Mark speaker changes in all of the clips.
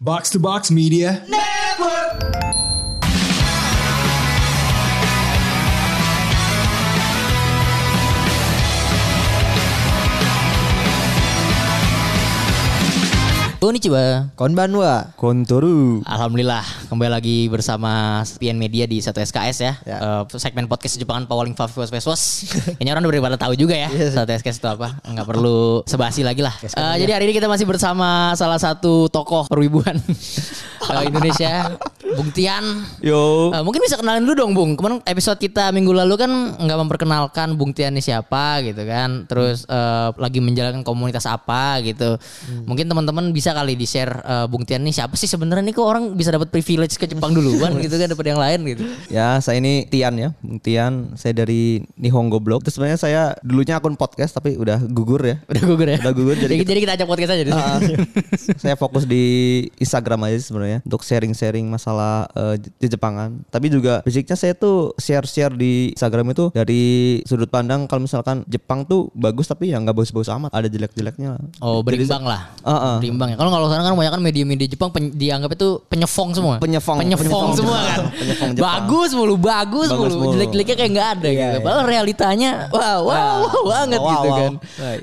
Speaker 1: Box to Box Media.
Speaker 2: Konnichiwa
Speaker 3: Konbanwa.
Speaker 4: Kontoru.
Speaker 2: Alhamdulillah kembali lagi bersama Sepian Media di 1 SKS ya,
Speaker 3: Ya.
Speaker 2: Eh, Segmen podcast Jepangan paling Favi Was Was Was Kayaknya orang udah pada tahu juga ya
Speaker 3: Iya sih.
Speaker 2: 1 SKS itu apa Nggak perlu sebasi lagi lah Eh, Jadi hari ini kita masih bersama salah satu tokoh perwibuan eh, Indonesia Bung Tian
Speaker 4: Yo.
Speaker 2: Eh, mungkin bisa kenalin dulu dong Bung. Kemarin episode kita minggu lalu kan nggak memperkenalkan Bung Tian ini siapa gitu kan. Terus eh, lagi menjalankan komunitas apa gitu. Mungkin teman-teman bisa kali di share Bung Tian ini siapa sih sebenarnya nih kok orang bisa dapat privilege ke Jepang duluan gitu kan daripada yang lain gitu.
Speaker 4: Ya, saya ini Tian ya. Bung Tian, saya dari Nihongo Blog. Terus sebenarnya saya dulunya akun podcast tapi udah gugur ya.
Speaker 2: Udah gugur ya.
Speaker 4: Udah gugur
Speaker 2: jadi,
Speaker 4: jadi
Speaker 2: kita- jadi kita ajak podcast aja. di sini.
Speaker 4: Ah, saya fokus di Instagram aja sih sebenarnya untuk sharing-sharing masalah eh, di Jepangan. Tapi juga basicnya saya tuh share-share di Instagram itu dari sudut pandang kalau misalkan Jepang tuh bagus tapi ya nggak bagus-bagus amat. Ada jelek-jeleknya.
Speaker 2: Oh
Speaker 4: Jadi
Speaker 2: berimbang lah.
Speaker 4: Ah, ah.
Speaker 2: Berimbang ya. Kalau kalau sekarang kan banyak kan media-media Jepang pen- dianggap itu penyefong semua.
Speaker 4: Penyefong.
Speaker 2: Penyefong
Speaker 4: Penyefong
Speaker 2: semua
Speaker 4: Jepang.
Speaker 2: kan.
Speaker 4: Penyefong Jepang.
Speaker 2: bagus mulu, bagus,
Speaker 4: Bagus
Speaker 2: mulu.
Speaker 4: mulu. Iya,
Speaker 2: Jelek-jeleknya kayak nggak ada gitu. Padahal realitanya wow, wow, wow banget
Speaker 4: Wow,
Speaker 2: gitu
Speaker 4: wow.
Speaker 2: kan.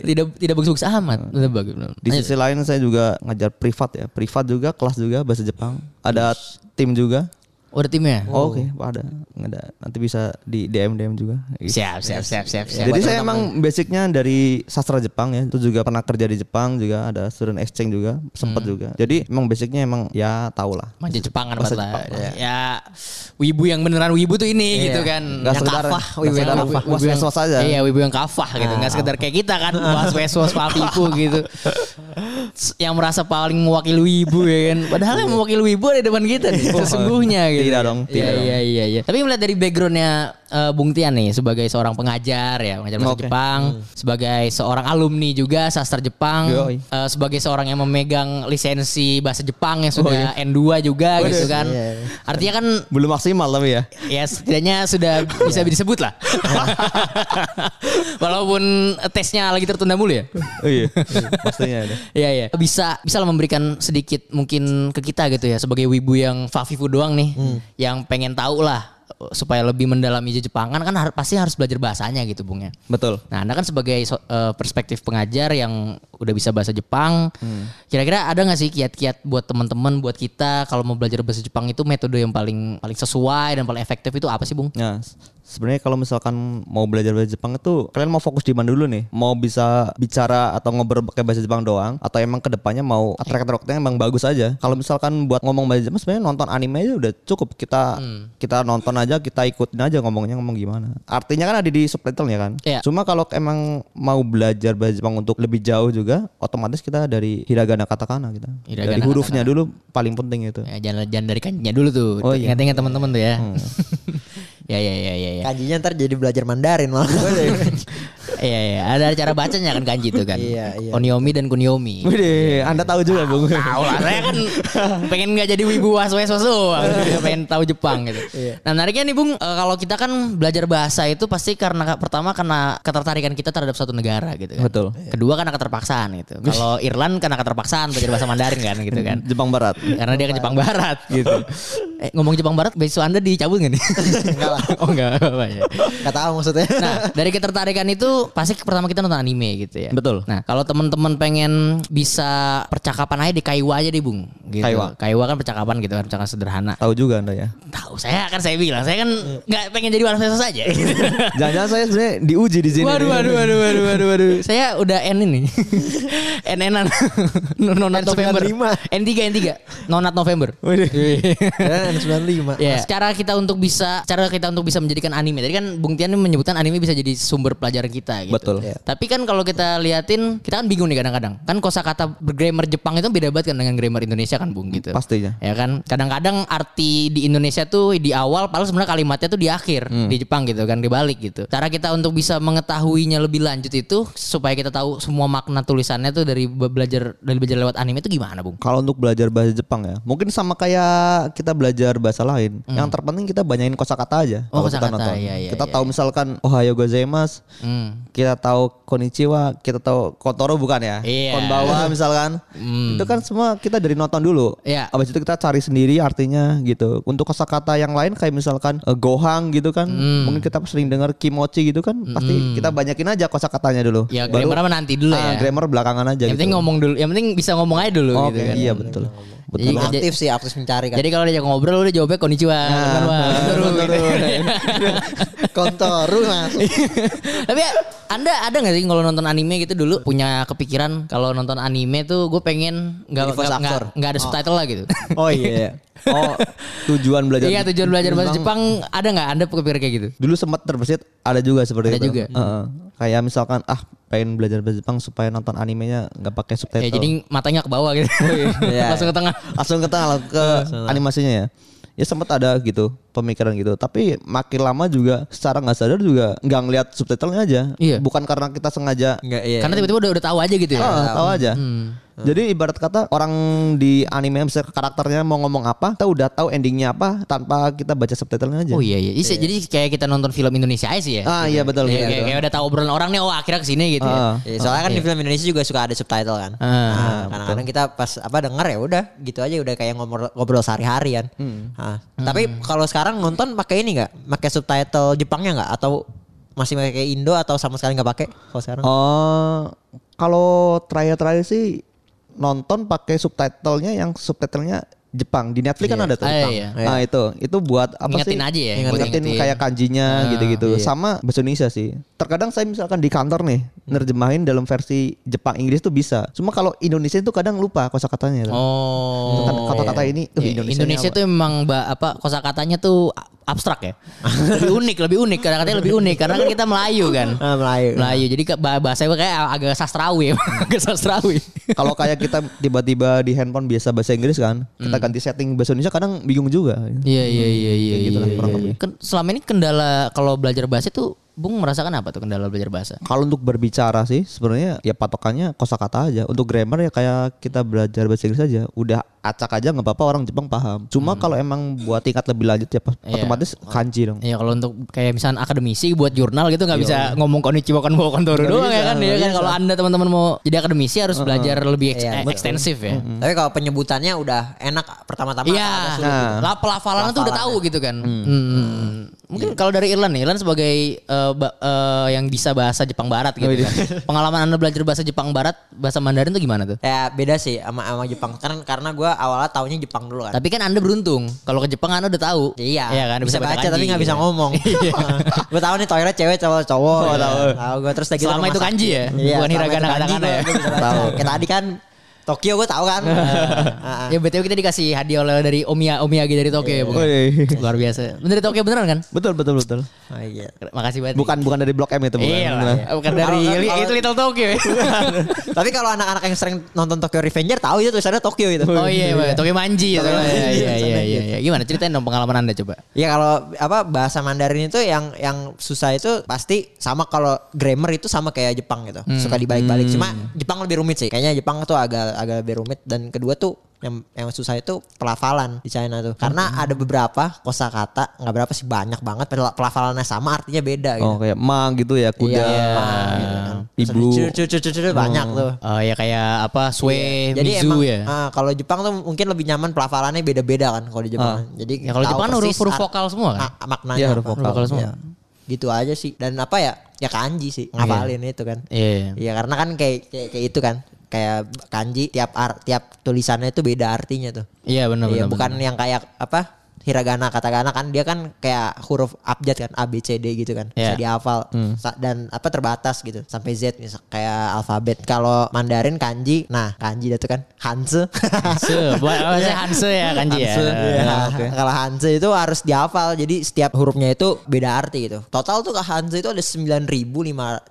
Speaker 2: Tidak tidak bagus-bagus amat. Udah bagus.
Speaker 4: Di
Speaker 2: Lanjut.
Speaker 4: sisi lain saya juga ngajar privat ya, privat juga kelas juga bahasa Jepang. Ada tim juga.
Speaker 2: Oh, Udah timnya.
Speaker 4: Oh, Oke, ada, ada. Nanti bisa di DM DM juga.
Speaker 2: Siap, siap, siap, siap, siap.
Speaker 4: Jadi
Speaker 2: Buat
Speaker 4: saya
Speaker 2: teman-teman.
Speaker 4: emang basicnya dari sastra Jepang ya. Itu juga pernah kerja di Jepang juga, ada student exchange juga, sempat juga. Jadi emang basicnya emang ya tau lah.
Speaker 2: manja Jepangan
Speaker 4: Bahasa
Speaker 2: banget lah.
Speaker 4: Jepang, iya.
Speaker 2: Ya. wibu yang beneran wibu tuh ini gitu kan.
Speaker 4: Nggak
Speaker 2: yang
Speaker 4: sekedar-
Speaker 2: kafah,
Speaker 4: nggak sekedar was-was aja. Ah.
Speaker 2: Iya, wibu yang kafah gitu. Enggak sekedar kayak kita kan, was was was papiku gitu. S- Yang merasa paling mewakili wibu ya kan. Padahal yang mewakili wibu ada di depan kita nih, sesungguhnya gitu.
Speaker 4: Iya. Tidak dong,
Speaker 2: Iya,
Speaker 4: tidak dong.
Speaker 2: iya, iya, iya. Tapi melihat dari backgroundnya eh, Bung Tian nih sebagai seorang pengajar ya, pengajar bahasa
Speaker 4: Oke. Hmm.
Speaker 2: Jepang, sebagai seorang alumni juga sastra Jepang,
Speaker 4: Yoi.
Speaker 2: eh, sebagai seorang yang memegang lisensi bahasa Jepang yang sudah N2 juga gitu kan. Artinya kan
Speaker 4: Belum maksimal tapi ya.
Speaker 2: ya setidaknya sudah bisa disebut lah. Walaupun tesnya lagi tertunda mulu ya.
Speaker 4: Oh, iya, pastinya ada.
Speaker 2: Iya iya. Bisa bisa lah memberikan sedikit mungkin ke kita gitu ya sebagai wibu yang Fafifu doang nih yang pengen tahu lah supaya lebih mendalami Jepangan kan har- pasti harus belajar bahasanya gitu Bung ya.
Speaker 4: Betul.
Speaker 2: Nah, Anda kan sebagai so- eh, perspektif pengajar yang udah bisa bahasa Jepang,
Speaker 3: Hmm.
Speaker 2: kira-kira ada nggak sih kiat-kiat buat teman-teman, buat kita kalau mau belajar bahasa Jepang itu metode yang paling paling sesuai dan paling efektif itu apa sih, Bung?
Speaker 4: Nah, s- sebenarnya kalau misalkan mau belajar bahasa Jepang itu kalian mau fokus di mana dulu nih? Mau bisa bicara atau ngobrol pakai bahasa Jepang doang atau emang kedepannya mau atrak-atraknya emang bagus aja? Kalau misalkan buat ngomong bahasa Jepang sebenarnya nonton anime aja udah cukup. Kita
Speaker 2: Hmm.
Speaker 4: kita nonton aja, kita ikutin aja ngomongnya ngomong gimana. Artinya kan ada di subtitle ya kan?
Speaker 2: Iya.
Speaker 4: Cuma kalau emang mau belajar bahasa Jepang untuk lebih jauh juga, otomatis kita dari hiragana katakana kita.
Speaker 2: Hiragana,
Speaker 4: dari hurufnya dulu paling penting itu.
Speaker 2: Ya, jangan jangan dari kanjinya dulu tuh.
Speaker 4: Oh, iya.
Speaker 2: Ingat-ingat teman-teman tuh ya. ya ya ya ya ya.
Speaker 3: Hmm. Kanjinya ntar jadi belajar Mandarin malah.
Speaker 2: Iya iya, ada cara bacanya kan kanji itu kan.
Speaker 3: Iya, iya,
Speaker 2: Onyomi dan kunyomi.
Speaker 4: Wih, Anda tahu juga, Bung.
Speaker 2: Tahu lah, saya kan pengen nggak jadi wibu was was was doang. pengen tahu Jepang gitu. Nah menariknya nih Bung, eh, kalau kita kan belajar bahasa itu pasti karena pertama karena ketertarikan kita terhadap satu negara gitu kan.
Speaker 4: Betul.
Speaker 2: Kedua karena keterpaksaan gitu. Kalau Irland karena keterpaksaan belajar bahasa Mandarin kan gitu kan.
Speaker 4: Jepang Barat.
Speaker 2: Karena dia ke Jepang Barat gitu. Eh, ngomong Jepang Barat, besok Anda dicabut nggak nih? enggak lah. Oh enggak apa-apa ya.
Speaker 3: Gak tahu maksudnya.
Speaker 2: Nah, dari ketertarikan itu pasti pertama kita nonton anime gitu ya.
Speaker 4: Betul.
Speaker 2: Nah, kalau teman-teman pengen bisa percakapan aja di Kaiwa aja deh, Bung. Gitu.
Speaker 4: Kaiwa.
Speaker 2: kan percakapan gitu kan, percakapan sederhana.
Speaker 4: Tahu juga Anda ya.
Speaker 2: Tahu, saya kan saya bilang, saya kan nggak pengen jadi orang sosial saja.
Speaker 4: Jangan-jangan saya sebenarnya diuji di sini.
Speaker 2: Waduh,
Speaker 4: nih.
Speaker 2: waduh, waduh, waduh, waduh, waduh. Saya udah N ini. NN-an. Nonat November.
Speaker 3: N95.
Speaker 2: N3, N3. Nonat November.
Speaker 3: N 95.
Speaker 2: Ya, cara kita untuk bisa cara kita untuk bisa menjadikan anime. Tadi kan Bung Tian menyebutkan anime bisa jadi sumber pelajaran kita gitu.
Speaker 4: Betul.
Speaker 3: Iya.
Speaker 2: Tapi kan kalau kita liatin, kita kan bingung nih kadang-kadang. Kan kosakata grammar Jepang itu beda banget kan dengan grammar Indonesia kan, Bung gitu.
Speaker 4: Pastinya.
Speaker 2: Ya kan? Kadang-kadang arti di Indonesia tuh tuh di awal padahal sebenarnya kalimatnya tuh di akhir
Speaker 4: Hmm.
Speaker 2: di Jepang gitu kan dibalik gitu. Cara kita untuk bisa mengetahuinya lebih lanjut itu supaya kita tahu semua makna tulisannya tuh dari be- belajar dari belajar lewat anime itu gimana, Bung?
Speaker 4: Kalau untuk belajar bahasa Jepang ya, mungkin sama kayak kita belajar bahasa lain. Yang terpenting kita banyakin kosakata aja.
Speaker 2: Hmm. Oh,
Speaker 4: kalau kita
Speaker 2: kosakata,
Speaker 4: nonton.
Speaker 2: iya, iya,
Speaker 4: kita
Speaker 2: iya,
Speaker 4: tahu misalkan ohayo gozaimasu,
Speaker 2: Hmm.
Speaker 4: kita tahu konnichiwa, kita tahu kotoro bukan ya?
Speaker 2: Iya. Hmm.
Speaker 4: Konbawa misalkan. Itu kan semua kita dari nonton dulu.
Speaker 2: Iya.
Speaker 4: Abis itu kita cari sendiri artinya gitu. Untuk kosakata yang lain kayak misalkan eh, gohang gitu kan,
Speaker 2: Hmm.
Speaker 4: mungkin kita sering dengar kimochi gitu kan, pasti kita banyakin aja kosakatanya dulu.
Speaker 2: Ya
Speaker 4: Baru-
Speaker 2: grammar mah nanti dulu
Speaker 4: ah,
Speaker 2: ya.
Speaker 4: grammar belakangan aja
Speaker 2: Yang
Speaker 4: gitu.
Speaker 2: penting ngomong dulu, yang penting bisa ngomong aja dulu
Speaker 4: Oke,
Speaker 2: gitu kan.
Speaker 4: iya betul. Betul.
Speaker 2: Jadi-
Speaker 3: Emang aktif sih aktif mencari kan. Nah,
Speaker 2: Jadi kalau diajak ngobrol udah jawabnya konnichiwa. konbanwa, kontoru, gitu.
Speaker 3: kontor masuk.
Speaker 2: Tapi ya, Anda ada nggak sih kalau nonton anime gitu dulu punya kepikiran kalau nonton anime tuh gue pengen nggak
Speaker 3: Jadi voice
Speaker 2: nggak- nggak
Speaker 3: actor.
Speaker 2: nggak ada subtitle lah gitu.
Speaker 4: Oh iya. Oh, tujuan belajar.
Speaker 2: Iya tujuan belajar bahasa Jepang ada nggak Anda kepikiran kayak gitu?
Speaker 4: Dulu sempat terbesit ada juga seperti
Speaker 2: Ada
Speaker 4: itu.
Speaker 2: juga.
Speaker 4: Heeh. Kayak misalkan ah pengen belajar bahasa Jepang supaya nonton animenya nggak pakai subtitle.
Speaker 2: Ya jadi matanya ke bawah gitu.
Speaker 3: Oh,
Speaker 4: Iya.
Speaker 2: Langsung ke tengah.
Speaker 4: langsung ke tengah langsung ke animasinya ya. Ya sempat ada gitu pemikiran gitu, tapi makin lama juga secara nggak sadar juga nggak ngeliat subtitlenya aja.
Speaker 2: Iya.
Speaker 4: Bukan karena kita sengaja
Speaker 3: Enggak iya. Oh,
Speaker 2: Karena tiba-tiba udah udah tahu aja gitu ya.
Speaker 4: Ah, tahu aja. Jadi ibarat kata orang di anime misalnya karakternya mau ngomong apa, kita udah tahu endingnya apa tanpa kita baca subtitlenya aja.
Speaker 2: Oh iya iya. Jadi, jadi kayak kita nonton film Indonesia aja sih ya.
Speaker 4: Ah iya betul.
Speaker 2: Kayak-
Speaker 4: betul.
Speaker 2: kayak, kayak udah tahu obrolan orang nih, oh akhirnya kesini gitu ya.
Speaker 4: Ah.
Speaker 3: Iya, soalnya kan di film Indonesia juga suka ada subtitle kan.
Speaker 2: Ah,
Speaker 3: Nah, kadang-kadang kita pas apa denger ya udah gitu aja udah kayak ngobrol ngobrol sehari-hari kan.
Speaker 2: Hmm.
Speaker 3: Ah, Tapi kalau sekarang nonton pakai ini nggak? Pakai subtitle Jepangnya nggak? Atau masih pakai Indo atau sama sekali nggak pakai kalau
Speaker 2: Oh.
Speaker 3: sekarang?
Speaker 4: Eh, kalau terakhir-terakhir sih nonton pakai subtitlenya yang subtitlenya Jepang di Netflix kan ada tuh.
Speaker 2: Ah,
Speaker 4: Jepang.
Speaker 2: iya.
Speaker 4: Nah itu itu buat apa
Speaker 2: Ngingetin
Speaker 4: sih?
Speaker 2: aja ya, buat
Speaker 4: Ngingetin,
Speaker 2: ngingetin. Ah, iya.
Speaker 4: kayak kanjinya gitu-gitu. Sama bahasa Indonesia sih. Terkadang saya misalkan di kantor nih
Speaker 2: Hmm.
Speaker 4: nerjemahin dalam versi Jepang Inggris tuh bisa. Cuma kalau Indonesia itu kadang lupa kosakatanya. tuh.
Speaker 2: Oh.
Speaker 4: Kan kata-kata ini
Speaker 2: Iya,
Speaker 4: uh,
Speaker 2: Indonesia,
Speaker 4: Indonesia.
Speaker 2: tuh memang ba- apa kosakatanya tuh a- abstrak ya. lebih unik, lebih unik. Karena katanya lebih unik karena kan kita Melayu kan.
Speaker 3: Ah, Melayu.
Speaker 2: Melayu. Jadi ke- bah- bahasa gue kayak agak sastrawi, ya, agak sastrawi.
Speaker 4: Kalau kayak kita tiba-tiba di handphone biasa bahasa Inggris kan, kita
Speaker 2: Hmm.
Speaker 4: ganti setting bahasa Indonesia kadang bingung juga.
Speaker 2: Iya iya iya iya.
Speaker 4: Kayak gitu lah kurang lebih.
Speaker 2: Ken- selama ini kendala kalau belajar bahasa tuh Bung merasakan apa tuh kendala belajar bahasa?
Speaker 4: Kalau untuk berbicara sih sebenarnya ya patokannya kosakata aja. Untuk grammar ya kayak kita belajar bahasa Inggris aja, udah acak aja nggak apa-apa orang Jepang paham. Cuma kalau emang buat tingkat lebih lanjut ya pas-
Speaker 2: Hmm. Iya.
Speaker 4: otomatis kanji dong.
Speaker 2: Ya kalau untuk kayak misalnya akademisi buat jurnal gitu nggak bisa ngomong konnichiwa kan bawa kontoru doang ya kan ya kan kalau Anda teman-teman mau jadi akademisi harus belajar lebih eks-
Speaker 3: Iya, betul.
Speaker 2: ekstensif ya.
Speaker 3: Tapi kalau penyebutannya udah enak pertama-tama
Speaker 2: Iya,
Speaker 3: agak sulit.
Speaker 4: Nah.
Speaker 2: lah pelafalan tuh udah tahu gitu kan. Hmm. Mungkin kalau dari Irland nih, Irland sebagai eh, ba- eh, yang bisa bahasa Jepang Barat gitu kan. Pengalaman Anda belajar bahasa Jepang Barat, bahasa Mandarin tuh gimana tuh?
Speaker 3: Ya beda sih sama sama Jepang. Karena karena gue awalnya taunya Jepang dulu kan.
Speaker 2: Tapi kan Anda beruntung, kalau ke Jepang Anda udah tahu.
Speaker 3: Iya,
Speaker 2: kan
Speaker 3: bisa, baca, tapi nggak
Speaker 2: kanji,
Speaker 3: bisa
Speaker 2: gitu.
Speaker 3: ngomong. gue tahu nih toilet cewek cowok cowok. gitu. Tahu gue terus lagi
Speaker 2: Oh,
Speaker 3: Iya,
Speaker 2: Selama itu kanji ya? Bukan hiragana, katakana ya?
Speaker 3: Tahu. Kayak tadi kan Tokyo gue tahu kan. Ah, ah.
Speaker 2: Ya BTW kita dikasih hadiah oleh dari Omia Omiagi dari Tokyo
Speaker 3: Iya.
Speaker 2: ya, Bung.
Speaker 4: Woi.
Speaker 2: Luar biasa. Dari Tokyo beneran kan?
Speaker 4: Iya. Betul betul betul.
Speaker 3: Oh, Iya.
Speaker 2: Makasih banget.
Speaker 4: Bukan bukan dari Blok M itu bukan.
Speaker 2: Iya lah. Bukan dari
Speaker 3: Kalau-
Speaker 2: li-
Speaker 3: kalau-
Speaker 2: itu Little Tokyo. ya.
Speaker 3: tapi kalau anak-anak yang sering nonton Tokyo Revenger tahu itu tulisannya Tokyo gitu.
Speaker 2: oh iya, Bang. Tokyo Manji. ya,
Speaker 3: Tokyo
Speaker 2: soalnya. Iya
Speaker 3: Manji,
Speaker 2: iya iya.
Speaker 3: sana
Speaker 2: iya, iya. Gimana ceritain dong pengalaman Anda coba?
Speaker 3: Ya kalau apa bahasa Mandarin itu yang yang susah itu pasti sama kalau grammar itu sama kayak Jepang gitu.
Speaker 4: Hmm,
Speaker 3: Suka dibalik-balik. Cuma Jepang lebih rumit sih. Kayaknya Jepang tuh agak agak lebih rumit dan kedua tuh yang yang susah itu pelafalan di China tuh. Karena
Speaker 4: Hmm.
Speaker 3: ada beberapa kosakata, nggak berapa sih banyak banget pel- pelafalannya sama artinya beda gitu.
Speaker 4: Oh kayak mang gitu ya kuda. gitu kan.
Speaker 3: Iya.
Speaker 4: Ibu. Hmm.
Speaker 3: Terus cu- cu- cu- cu- cu- banyak tuh.
Speaker 2: Oh ya kayak apa Sue
Speaker 3: Jadi
Speaker 2: Mizu
Speaker 3: emang
Speaker 2: ya.
Speaker 3: ah, kalau Jepang tuh mungkin lebih nyaman pelafalannya beda-beda kan kalau di Jepang. Jadi
Speaker 2: Ya, kalau
Speaker 3: tahu
Speaker 2: Jepang huruf-
Speaker 3: persis
Speaker 2: huruf
Speaker 3: art-
Speaker 2: vokal semua kan?
Speaker 3: a- maknanya.
Speaker 4: Iya, huruf
Speaker 3: apa.
Speaker 4: vokal.
Speaker 2: Kalau
Speaker 3: Iya.
Speaker 2: semua.
Speaker 3: Gitu aja sih. Dan apa ya? Ya kanji sih. Ngapalin itu kan.
Speaker 2: Iya.
Speaker 3: Iya, karena kan kayak kayak, kayak itu kan. Kayak kanji tiap ar- tiap tulisannya itu beda artinya tuh.
Speaker 2: Iya benar benar.
Speaker 3: Iya, bukan yang kayak apa? Hiragana, katakana kan dia kan kayak huruf abjad kan A B C D gitu kan.
Speaker 2: Iya.
Speaker 3: Bisa dihafal Sa- dan apa terbatas gitu sampai Z misal kayak alfabet. Kalau Mandarin kanji, nah kanji itu kan Hanse.
Speaker 2: Hanse, buat apa
Speaker 3: Iya.
Speaker 2: sih Hanse ya kanji ya.
Speaker 4: Hanse, iya.
Speaker 3: Nah,
Speaker 4: oke.
Speaker 3: Kalau Hanse itu harus dihafal. Jadi setiap hurufnya itu beda arti gitu. Total tuh ke Hanse itu ada 9.500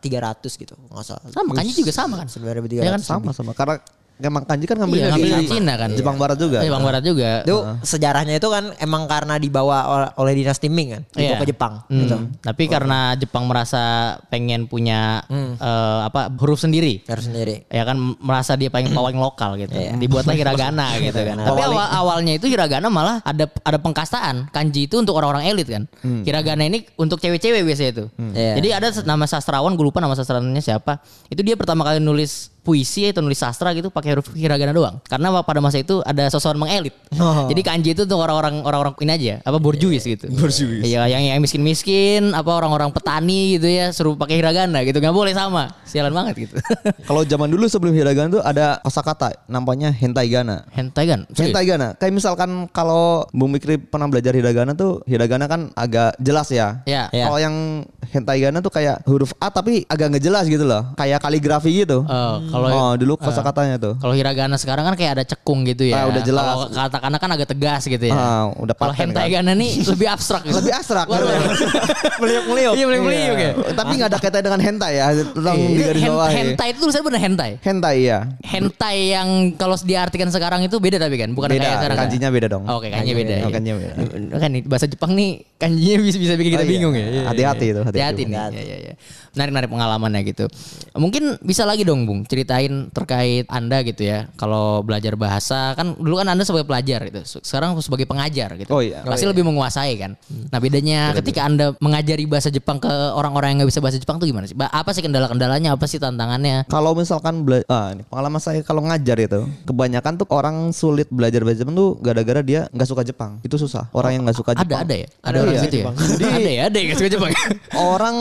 Speaker 3: gitu. Enggak salah.
Speaker 2: Sama kanji juga sama kan.
Speaker 3: 9.300.
Speaker 2: Iya kan?
Speaker 4: sama sama karena emang kanji kan ngambilnya di
Speaker 2: Iya, ngambilnya Cina kan.
Speaker 4: Jepang Barat juga.
Speaker 2: Eh, Bang Barat juga.
Speaker 3: Itu sejarahnya itu kan emang karena dibawa ol- oleh dinasti Ming kan, dibawa
Speaker 2: Iya.
Speaker 3: ke Jepang
Speaker 2: Hmm.
Speaker 3: gitu.
Speaker 2: Tapi karena Jepang merasa pengen punya
Speaker 3: Hmm.
Speaker 2: eh, apa huruf sendiri.
Speaker 3: Harus sendiri.
Speaker 2: ya kan merasa dia paling paling lokal gitu. Dibuat lagi hiragana gitu kan.
Speaker 3: Iya. Hiragana.
Speaker 2: Tapi awal awalnya itu hiragana malah ada ada pengkastaan. Kanji itu untuk orang-orang elit kan. Hiragana ini untuk cewek-cewek biasanya itu.
Speaker 3: Hmm. Iya.
Speaker 2: Jadi ada se- nama sastrawan gue lupa nama sastrawannya siapa. Itu dia pertama kali nulis puisi atau nulis sastra gitu pakai huruf hiragana doang. Karena wa- pada masa itu ada sosok mengelit.
Speaker 3: Oh.
Speaker 2: Jadi kanji itu untuk orang-orang orang-orang ini aja apa borjuis gitu.
Speaker 1: Borjuis.
Speaker 2: Iya, yang yang miskin-miskin, apa orang-orang petani gitu ya, suruh pakai hiragana gitu. nggak boleh sama. Sialan banget gitu.
Speaker 4: Kalau zaman dulu sebelum hiragana tuh ada kosakata namanya hentaigana.
Speaker 2: Hentai kan? Serius?
Speaker 4: Hentaigana. Kayak misalkan kalau Bung Mikri pernah belajar hiragana tuh hiragana kan agak jelas ya.
Speaker 2: Ya.
Speaker 3: Ya.
Speaker 4: Kalau yang hentaigana tuh kayak huruf A tapi agak ngejelas gitu loh. Kayak kaligrafi gitu.
Speaker 2: Eh, kalau
Speaker 4: oh, dulu kosakatanya tuh.
Speaker 2: kalau hiragana sekarang kan kayak ada cekung gitu ya.
Speaker 4: Ah, udah jelas.
Speaker 2: Kalau katakana kan agak tegas gitu ya.
Speaker 4: Ah, udah
Speaker 2: kalau
Speaker 4: paten
Speaker 2: hentai
Speaker 4: kan.
Speaker 2: gana nih lebih abstrak gitu.
Speaker 4: Lebih abstrak. Iya.
Speaker 2: Waduh.
Speaker 4: Meliuk-meliuk.
Speaker 2: Iya, meliuk-meliuk ya.
Speaker 4: Tapi nggak ada kaitannya dengan hentai ya. Tolong
Speaker 2: Iya.
Speaker 4: digaris
Speaker 2: Hen-
Speaker 4: bawah. ya.
Speaker 2: hentai itu tulisannya bener hentai.
Speaker 4: Hentai ya.
Speaker 2: Hentai yang kalau diartikan sekarang itu beda tapi kan, bukan
Speaker 4: Beda,
Speaker 2: kayak sekarang. kan?
Speaker 4: kanjinya beda dong.
Speaker 2: Oh, Oke, kanjinya beda.
Speaker 4: Kanjinya beda.
Speaker 2: iya.
Speaker 4: Kanjinya beda.
Speaker 2: Kan nih, bahasa Jepang nih kanjinya bisa bisa bikin kita
Speaker 4: Oh, iya.
Speaker 2: bingung ya. Iya, iya,
Speaker 4: Hati-hati
Speaker 2: iya.
Speaker 4: itu, hati-hati.
Speaker 2: Hati-hati nih. Iya, iya, iya. Menarik-menarik pengalamannya gitu. Mungkin bisa lagi dong, Bung, ceritain terkait Anda gitu ya. Kalau belajar bahasa kan dulu kan Anda sebagai pelajar gitu. Se- Sekarang sebagai pengajar gitu.
Speaker 4: Oh, iya. Hmm.
Speaker 2: Pasti lebih menguasai kan. Nah, bedanya ketika Anda mengajari bahasa Jepang ke orang-orang yang nggak bisa bahasa Jepang tuh gimana sih? Ba- Apa sih kendala-kendalanya? Apa sih tantangannya?
Speaker 4: Kalau misalkan bela- ah, ini pengalaman saya kalau ngajar itu kebanyakan tuh orang sulit belajar bahasa Jepang tuh gara-gara dia nggak suka Jepang. Itu susah. Orang yang nggak suka
Speaker 2: Ada
Speaker 4: Jepang.
Speaker 2: ada ya? Ada, orang
Speaker 4: iya.
Speaker 2: gitu ya? ada ya, ada ya nggak suka Jepang.
Speaker 4: Orang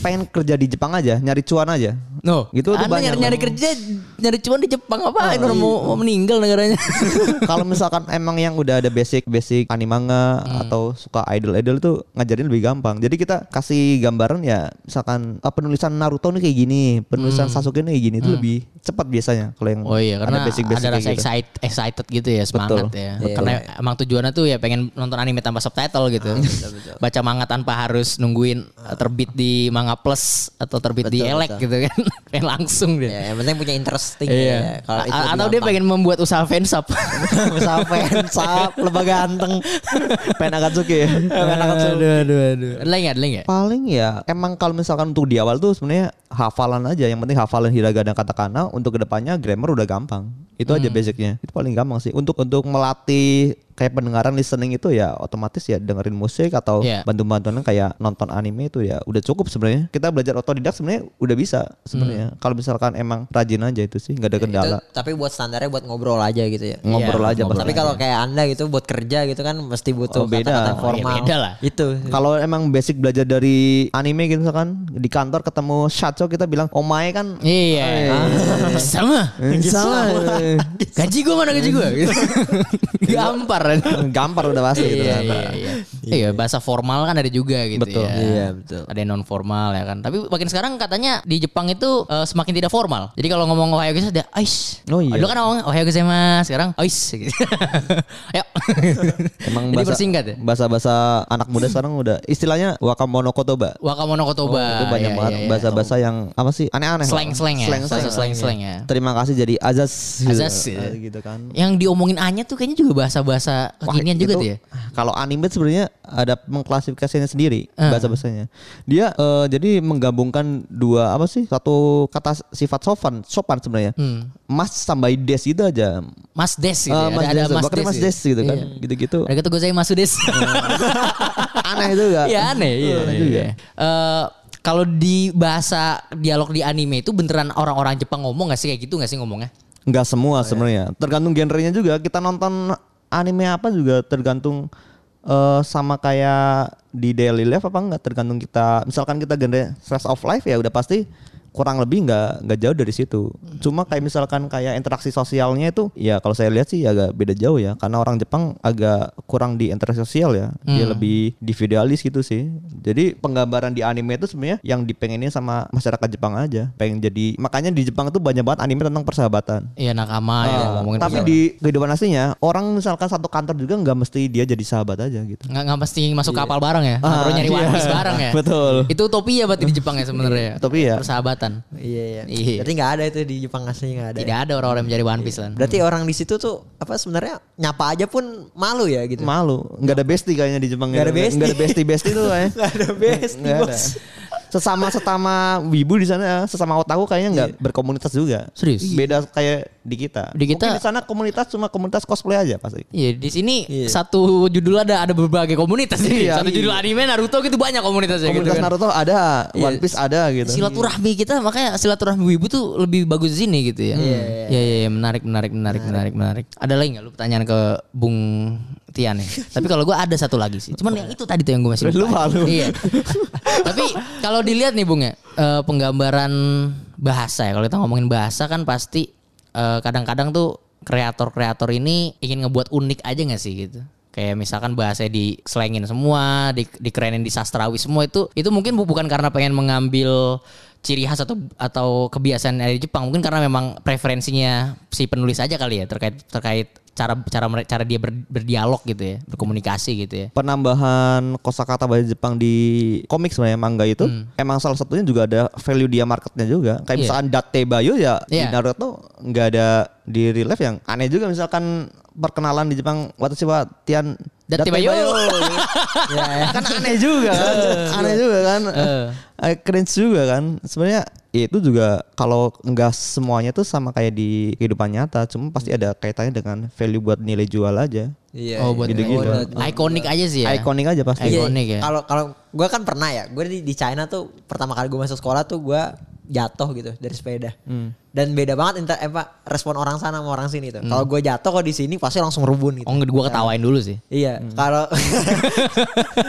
Speaker 4: pengen kerja di Jepang aja, nyari cuan aja.
Speaker 2: No,
Speaker 4: Gitu tuh
Speaker 2: Anda
Speaker 4: banyak Ah, iya.
Speaker 2: nyari, nyari
Speaker 4: loh.
Speaker 2: kerja, nyari cuan di Jepang apa? orang mau, mau meninggal negaranya.
Speaker 4: Kalau misalkan emang yang udah ada basic-basic animanga
Speaker 2: Hmm.
Speaker 4: atau suka idol-idol tuh ngajarin lebih gampang. Jadi kita kasih gambaran ya misalkan ah, penulisan Naruto nih kayak gini, penulisan Sasuke nih kayak gini itu lebih cepat biasanya kalau yang
Speaker 2: Hmm. Oh iya, karena ada,
Speaker 4: basic-basic kayak
Speaker 2: rasa
Speaker 4: gitu.
Speaker 2: excited, excited gitu ya, semangat
Speaker 4: Betul,
Speaker 2: ya.
Speaker 3: Iya,
Speaker 4: betul.
Speaker 2: Karena emang tujuannya tuh ya pengen nonton anime tanpa subtitle
Speaker 3: Ah,
Speaker 2: gitu. Baca manga tanpa harus nungguin eh, terbit di manga plus atau terbit di
Speaker 3: Betul,
Speaker 2: elek
Speaker 3: betul.
Speaker 2: gitu kan. pengen langsung dia.
Speaker 3: Ya, yang penting punya interesting
Speaker 2: Iya.
Speaker 3: ya. Kalau itu
Speaker 2: A- atau dia
Speaker 3: gampang.
Speaker 2: pengen membuat usaha fansub.
Speaker 3: usaha fansap, lebah ganteng.
Speaker 4: Pen Akatsuki. ya.
Speaker 2: aduh, aduh, aduh. Ada lagi nggak? ada lagi nggak?
Speaker 4: Paling ya emang kalau misalkan untuk di awal tuh sebenarnya hafalan aja yang penting hafalan hiragana katakana untuk kedepannya grammar udah gampang itu aja basicnya itu paling gampang sih untuk untuk melatih kayak pendengaran listening itu ya otomatis ya dengerin musik atau
Speaker 2: Iya.
Speaker 4: bantu-bantuan kayak nonton anime itu ya udah cukup sebenarnya kita belajar otodidak sebenarnya udah bisa sebenarnya kalau misalkan emang rajin aja itu sih nggak ada kendala
Speaker 3: Itu, tapi buat standarnya buat ngobrol aja gitu ya.
Speaker 4: ngobrol aja
Speaker 3: Tapi
Speaker 4: ngobrol.
Speaker 3: kalau kayak Anda gitu buat kerja gitu kan mesti
Speaker 4: Oh,
Speaker 3: butuh
Speaker 4: beda. Oh,
Speaker 3: kata-kata
Speaker 4: iya,
Speaker 3: formal.
Speaker 2: beda lah.
Speaker 3: Itu.
Speaker 4: Kalau emang basic belajar dari anime gitu misalkan di kantor ketemu Shacho kita bilang omae kan
Speaker 2: Iya.
Speaker 3: Ah,
Speaker 2: Sama.
Speaker 4: Eh, Sama.
Speaker 2: Gaji gue mana gaji gue? Gampar kan.
Speaker 4: Gampar udah pasti gitu
Speaker 2: Iya,
Speaker 4: kan.
Speaker 2: iya, iya. Iya, bahasa formal kan ada juga gitu
Speaker 4: Betul.
Speaker 2: ya.
Speaker 3: Iya, betul.
Speaker 2: Ada yang non formal ya kan. Tapi makin sekarang katanya di Jepang itu eh, semakin tidak formal. Jadi kalau ngomong ohayo gozaimasu ada ais.
Speaker 4: Oh, iya.
Speaker 2: Dulu kan ngomong ohayo gozaimasu, sekarang ais gitu. Ayo.
Speaker 4: Emang
Speaker 2: Jadi
Speaker 4: bahasa,
Speaker 2: bersingkat ya.
Speaker 4: Bahasa-bahasa anak muda sekarang udah istilahnya wakamono kotoba.
Speaker 2: Wakamono kotoba.
Speaker 4: Oh, itu banyak
Speaker 2: Iya,
Speaker 4: banget
Speaker 2: iya, iya.
Speaker 4: bahasa-bahasa yang apa sih aneh-aneh.
Speaker 2: Slang-slang ya.
Speaker 4: Slang,
Speaker 2: Bahasa slang-slang ya.
Speaker 4: Terima kasih jadi azas.
Speaker 2: Azas,
Speaker 4: gitu,
Speaker 2: ya.
Speaker 4: gitu kan.
Speaker 2: Yang diomongin A-nya tuh kayaknya juga bahasa-bahasa
Speaker 4: Wah,
Speaker 2: kekinian juga
Speaker 4: itu,
Speaker 2: tuh ya.
Speaker 4: Kalau anime sebenarnya ada mengklasifikasinya sendiri
Speaker 2: Ah.
Speaker 4: bahasa-bahasanya. Dia eh, jadi menggabungkan dua apa sih? Satu kata sifat sopan, sopan sebenarnya.
Speaker 2: Hmm.
Speaker 4: Mas tambah des itu aja.
Speaker 2: Mas Des gitu.
Speaker 4: Eh,
Speaker 2: ya. Ada, ada
Speaker 4: Des,
Speaker 2: Mas
Speaker 4: bahkan
Speaker 2: Des.
Speaker 4: Mas
Speaker 2: gitu.
Speaker 4: des gitu kan.
Speaker 2: Iya.
Speaker 4: Gitu-gitu.
Speaker 2: Arigato gozaimasu des.
Speaker 4: Aneh itu enggak?
Speaker 2: Iya aneh, iya.
Speaker 4: Aneh
Speaker 2: iya.
Speaker 4: juga.
Speaker 2: Eh, kalau di bahasa dialog di anime itu beneran orang-orang Jepang ngomong gak sih kayak gitu gak sih ngomongnya?
Speaker 4: Nggak
Speaker 2: Oh,
Speaker 4: semua
Speaker 2: iya.
Speaker 4: sebenarnya. Tergantung genrenya juga. Kita nonton anime apa juga tergantung eh, sama kayak di daily life apa enggak tergantung kita. Misalkan kita genre stress of life ya udah pasti kurang lebih nggak nggak jauh dari situ. Cuma kayak misalkan kayak interaksi sosialnya itu ya kalau saya lihat sih agak beda jauh ya karena orang Jepang agak kurang di interaksi sosial ya. Dia
Speaker 2: Hmm.
Speaker 4: lebih individualis gitu sih. Jadi penggambaran di anime itu sebenarnya yang dipengenin sama masyarakat Jepang aja. Pengen jadi makanya di Jepang tuh banyak banget anime tentang persahabatan.
Speaker 2: Iya nakama ya ngomongin
Speaker 4: Ah, Tapi di kehidupan aslinya orang misalkan satu kantor juga nggak mesti dia jadi sahabat aja gitu.
Speaker 2: nggak nggak mesti masuk kapal bareng ya, baru nyari
Speaker 4: iya.
Speaker 2: one piece bareng ya.
Speaker 4: Betul.
Speaker 2: Itu utopia berarti di Jepang ya sebenarnya.
Speaker 4: Utopia.
Speaker 2: Persahabatan kelihatan.
Speaker 3: Iya iya.
Speaker 2: Iya.
Speaker 3: Berarti nggak ada itu di Jepang aslinya nggak ada. ya?
Speaker 2: Tidak ada orang-orang yang mencari One Piece
Speaker 4: Iya.
Speaker 2: kan? Lan.
Speaker 3: Berarti orang di situ tuh apa sebenarnya nyapa aja pun malu ya gitu.
Speaker 4: Malu, nggak ada bestie kayaknya di Jepang.
Speaker 3: Nggak ada
Speaker 4: Nggak- nggak ada bestie bestie tuh kayaknya.
Speaker 3: Nggak ada best
Speaker 4: Nggak ada. Sesama sesama wibu di sana, sesama otaku kayaknya nggak berkomunitas juga. Iya.
Speaker 2: Serius?
Speaker 4: Beda kayak di kita.
Speaker 2: Di
Speaker 4: Mungkin
Speaker 2: kita-
Speaker 4: di sana komunitas cuma komunitas cosplay aja pasti.
Speaker 2: Iya, di sini
Speaker 3: Iya.
Speaker 2: satu judul ada ada berbagai komunitas ini.
Speaker 4: Iya,
Speaker 2: satu
Speaker 4: iya.
Speaker 2: judul anime Naruto gitu banyak komunitasnya
Speaker 4: Komunitas
Speaker 2: gitu kan.
Speaker 4: Naruto ada, One Piece ada gitu.
Speaker 2: Silaturahmi kita makanya silaturahmi wibu tuh lebih bagus di sini gitu ya.
Speaker 4: Hmm.
Speaker 2: Iya, iya, iya, menarik, menarik, menarik, menarik, menarik. Ada lagi nggak lu pertanyaan ke Bung Tian nih? Tapi kalau gua ada satu lagi sih. Cuman yang itu tadi tuh yang gua masih
Speaker 4: Lu malu.
Speaker 2: Iya. Tapi kalau dilihat nih Bung ya, eh, penggambaran bahasa ya. Kalau kita ngomongin bahasa kan pasti eh, kadang-kadang tuh kreator-kreator ini ingin ngebuat unik aja gak sih gitu. Kayak misalkan bahasa diselengin semua, di, dikerenin di sastrawi semua itu itu mungkin bu- bukan karena pengen mengambil ciri khas atau atau kebiasaan dari Jepang mungkin karena memang preferensinya si penulis aja kali ya terkait terkait cara cara mere- cara dia ber- berdialog gitu ya berkomunikasi gitu ya
Speaker 4: penambahan kosakata bahasa Jepang di komik sebenarnya manga itu emang salah satunya juga ada value dia marketnya juga kayak
Speaker 2: Iya.
Speaker 4: misalkan Date Bayo ya di
Speaker 2: Iya.
Speaker 4: Naruto nggak ada di real life yang aneh juga misalkan perkenalan di Jepang waktu siapa Tian
Speaker 2: Date Bayo.
Speaker 4: ya, ya. kan aneh juga kan aneh juga kan Eh, cringe juga kan sebenarnya ya itu juga kalau nggak semuanya tuh sama kayak di kehidupan nyata cuma pasti ada kaitannya dengan value buat nilai jual aja
Speaker 3: Iya.
Speaker 2: oh
Speaker 3: iya.
Speaker 2: buat
Speaker 4: Gitu-gitu.
Speaker 2: oh,
Speaker 4: Buat-
Speaker 2: ikonik aja sih ya
Speaker 4: ikonik aja pasti
Speaker 3: Iya,
Speaker 2: Ikonik ya.
Speaker 3: Kalau kalau gue kan pernah ya, gue di, di China tuh pertama kali gue masuk sekolah tuh gue jatuh gitu dari sepeda.
Speaker 2: Hmm.
Speaker 3: Dan beda banget inter, eh, Pak, respon orang sana sama orang sini tuh. Kalau gue jatuh kok di sini pasti langsung rubun gitu.
Speaker 2: Oh, Hmm. gue ketawain dulu sih.
Speaker 3: Iya, kalau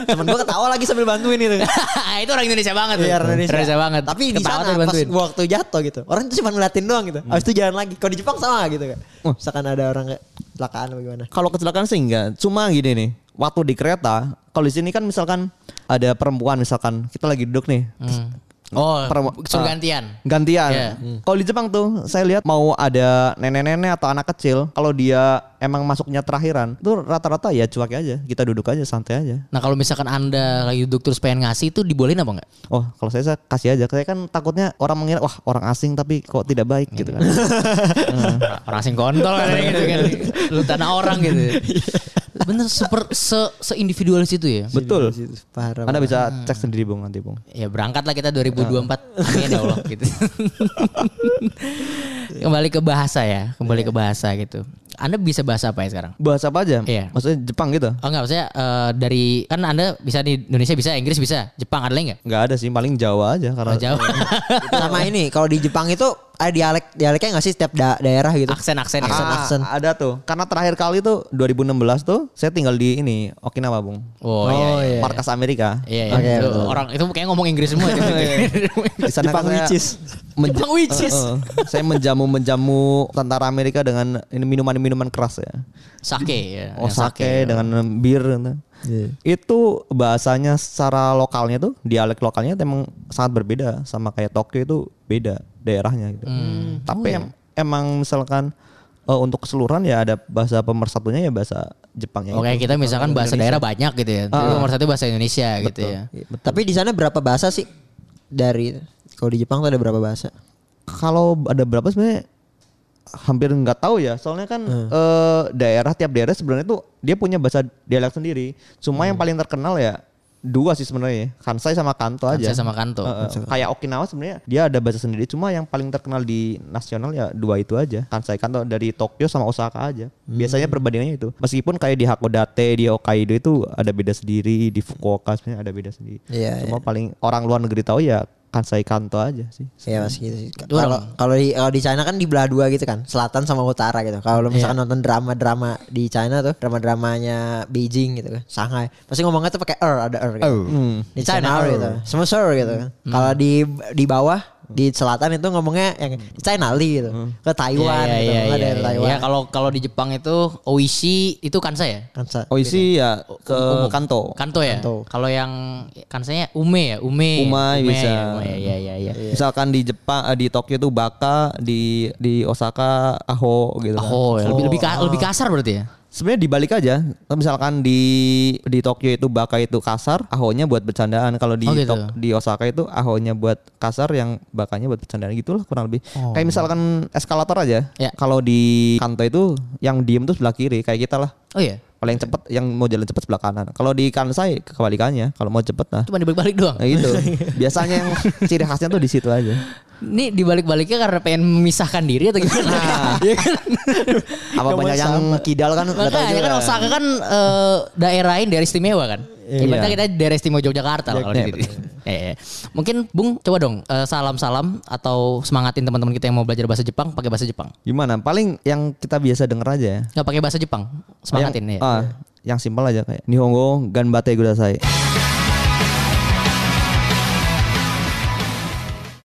Speaker 3: temen gue ketawa lagi sambil bantuin gitu.
Speaker 2: itu orang Indonesia banget tuh.
Speaker 3: Iya, orang Indonesia.
Speaker 2: Hmm. banget.
Speaker 3: Tapi di
Speaker 2: Ketawa Hmm.
Speaker 3: sana
Speaker 2: tapi
Speaker 3: pas
Speaker 2: bantuin.
Speaker 3: gua waktu jatuh gitu. Orang tuh cuma ngeliatin doang gitu. Habis itu jalan lagi. Kalau di Jepang sama nggak gitu kan.
Speaker 2: Oh.
Speaker 3: Misalkan ada orang kayak Anu, kecelakaan apa gimana.
Speaker 4: Kalau kecelakaan sih enggak. Cuma gini nih, waktu di kereta, kalau di sini kan misalkan ada perempuan misalkan kita lagi duduk nih. terus
Speaker 2: Oh,
Speaker 4: Perem-
Speaker 2: suruh
Speaker 4: ah.
Speaker 2: gantian.
Speaker 4: Gantian.
Speaker 2: Iya.
Speaker 4: Kalau di Jepang tuh saya lihat mau ada nenek-nenek atau anak kecil, kalau dia emang masuknya terakhiran, itu rata-rata ya cuek aja. Kita duduk aja santai aja.
Speaker 2: Nah, kalau misalkan Anda lagi duduk terus pengen ngasih itu dibolehin apa enggak?
Speaker 4: Oh, kalau saya, saya kasih aja. Saya kan takutnya orang mengira wah orang asing tapi kok tidak baik gitu kan.
Speaker 2: Iya.
Speaker 4: Hmm.
Speaker 2: orang asing kontol kan gitu kan.
Speaker 4: Iya.
Speaker 2: Lu tanah orang gitu. Bener super se seindividualis itu ya.
Speaker 4: Betul.
Speaker 3: Parah.
Speaker 4: Anda bisa cek sendiri Bung nanti Bung.
Speaker 2: Ya berangkatlah kita 2024
Speaker 4: Ah.
Speaker 2: Amin ya Allah gitu Kembali ke bahasa ya Kembali
Speaker 4: Iya.
Speaker 2: ke bahasa gitu Anda bisa bahasa apa ya sekarang?
Speaker 4: Bahasa apa aja?
Speaker 2: Iya.
Speaker 4: Maksudnya Jepang gitu?
Speaker 2: Oh enggak maksudnya eh, dari Kan Anda bisa di Indonesia bisa Inggris bisa Jepang ada lagi enggak?
Speaker 4: Enggak ada sih, paling Jawa aja karena
Speaker 2: Oh, Jawa
Speaker 3: sama ini kalau di Jepang itu ada dialek dialeknya nggak sih setiap da- daerah gitu.
Speaker 2: Aksen-aksen ya
Speaker 3: Aksen.
Speaker 4: Ah, ada tuh. Karena terakhir kali tuh 2016 tuh saya tinggal di ini Okinawa, Bung.
Speaker 2: Oh, iya, iya.
Speaker 4: Markas Amerika.
Speaker 2: Iya, iya. Itu orang itu kayak ngomong Inggris semua. gitu. itu.
Speaker 4: Di sana
Speaker 3: Jepang
Speaker 4: kan saya
Speaker 3: which is.
Speaker 4: menja-
Speaker 2: Jepang which is.
Speaker 4: Eh, eh. saya menjamu-menjamu tentara Amerika dengan ini minuman-minuman keras ya.
Speaker 2: Sake ya.
Speaker 4: Oh,
Speaker 2: yang
Speaker 4: sake dengan bir gitu. Itu bahasanya secara lokalnya tuh, dialek lokalnya tuh emang sangat berbeda sama kayak Tokyo itu beda daerahnya gitu. Tapi em- emang misalkan eh, untuk keseluruhan ya ada bahasa pemersatunya ya bahasa Jepangnya.
Speaker 2: Oke,
Speaker 4: itu.
Speaker 2: kita misalkan bahasa daerah banyak gitu ya. Tapi nomor satu bahasa Indonesia gitu ya.
Speaker 3: Iya, Tapi di sana berapa bahasa sih dari kalau di Jepang tuh ada berapa bahasa?
Speaker 4: kalau ada berapa sebenarnya hampir nggak tahu ya soalnya kan eh, daerah tiap daerah sebenarnya tuh dia punya bahasa dialek sendiri cuma yang paling terkenal ya dua sih sebenarnya ya. Kansai sama Kanto aja
Speaker 2: Saya sama Kanto.
Speaker 4: Eh, eh, kayak Okinawa sebenarnya dia ada bahasa sendiri cuma yang paling terkenal di nasional ya dua itu aja Kansai Kanto dari Tokyo sama Osaka aja biasanya perbandingannya itu meskipun kayak di Hakodate di Hokkaido itu ada beda sendiri di Fukuoka sebenarnya ada beda sendiri
Speaker 3: Iya,
Speaker 4: cuma paling orang luar negeri tahu ya Kansai Kanto aja sih
Speaker 3: Iya mas gitu sih. Kalau kalau di kalau di China kan dibelah dua gitu kan, selatan sama utara gitu.
Speaker 2: Iya.
Speaker 3: Kalau lu misalkan nonton drama-drama di China tuh, drama-dramanya Beijing gitu kan, Shanghai, pasti ngomongnya tuh pakai er, ada er gitu.
Speaker 2: Oh.
Speaker 3: Di China er gitu, semua er gitu kan.
Speaker 2: Hmm.
Speaker 3: Kalau di di bawah di selatan itu ngomongnya yang di China li gitu, ke Taiwan
Speaker 2: Iya,
Speaker 3: gitu,
Speaker 2: iya,
Speaker 3: ada
Speaker 2: iya,
Speaker 3: yang
Speaker 2: iya.
Speaker 3: Taiwan.
Speaker 2: Ya, kalau kalau di Jepang itu oishi itu kansa ya?
Speaker 3: Kan sa-
Speaker 4: Oh isi ya ke
Speaker 2: Umum.
Speaker 4: Kanto.
Speaker 2: Kanto ya. Kalau yang kansanya ume ya, ume.
Speaker 4: Umai bisa.
Speaker 2: ya, ume, Iya, iya, iya.
Speaker 4: Misalkan di Jepang eh, di Tokyo tuh Baka, di di Osaka Aho gitu. kan.
Speaker 2: Oh, ya, lebih lebih, ka- lebih kasar berarti ya?
Speaker 4: Sebenarnya dibalik aja. Misalkan di di Tokyo itu baka itu kasar, ahonya buat bercandaan. Kalau di
Speaker 2: Oh, gitu.
Speaker 4: Tok- di Osaka itu ahonya buat kasar, yang bakanya buat bercandaan gitu lah kurang lebih. Kayak misalkan eskalator aja.
Speaker 2: Oh. Ya.
Speaker 4: Kalau di Kanto itu yang diem tuh sebelah kiri kayak kita lah.
Speaker 2: Oh iya.
Speaker 4: Paling cepet yang mau jalan cepet sebelah kanan. Kalau di Kansai kebalikannya, kalau mau cepet nah
Speaker 2: Cuma dibalik-balik doang.
Speaker 4: Nah, gitu. Biasanya yang ciri khasnya tuh di situ aja.
Speaker 2: Ini dibalik-baliknya karena pengen memisahkan diri atau gimana? Iya kan?
Speaker 3: Apa banyak yang kidal kan nggak tahu
Speaker 2: Makanya
Speaker 3: juga.
Speaker 2: kan Osaka kan eh, daerah lain daerah istimewa kan.
Speaker 3: Iya.
Speaker 2: Ibaratnya kita daerah istimewa Yogyakarta lah kalau
Speaker 4: Iya.
Speaker 2: gitu. Eh, mungkin Bung coba dong eh, salam-salam atau semangatin teman-teman kita yang mau belajar bahasa Jepang pakai bahasa Jepang.
Speaker 4: Gimana? Paling yang kita biasa denger aja ya.
Speaker 2: Gak
Speaker 3: Iya.
Speaker 2: pakai bahasa Jepang, semangatin
Speaker 4: yang,
Speaker 2: ya.
Speaker 4: ah, yang simpel aja kayak Nihongo ganbate kudasai.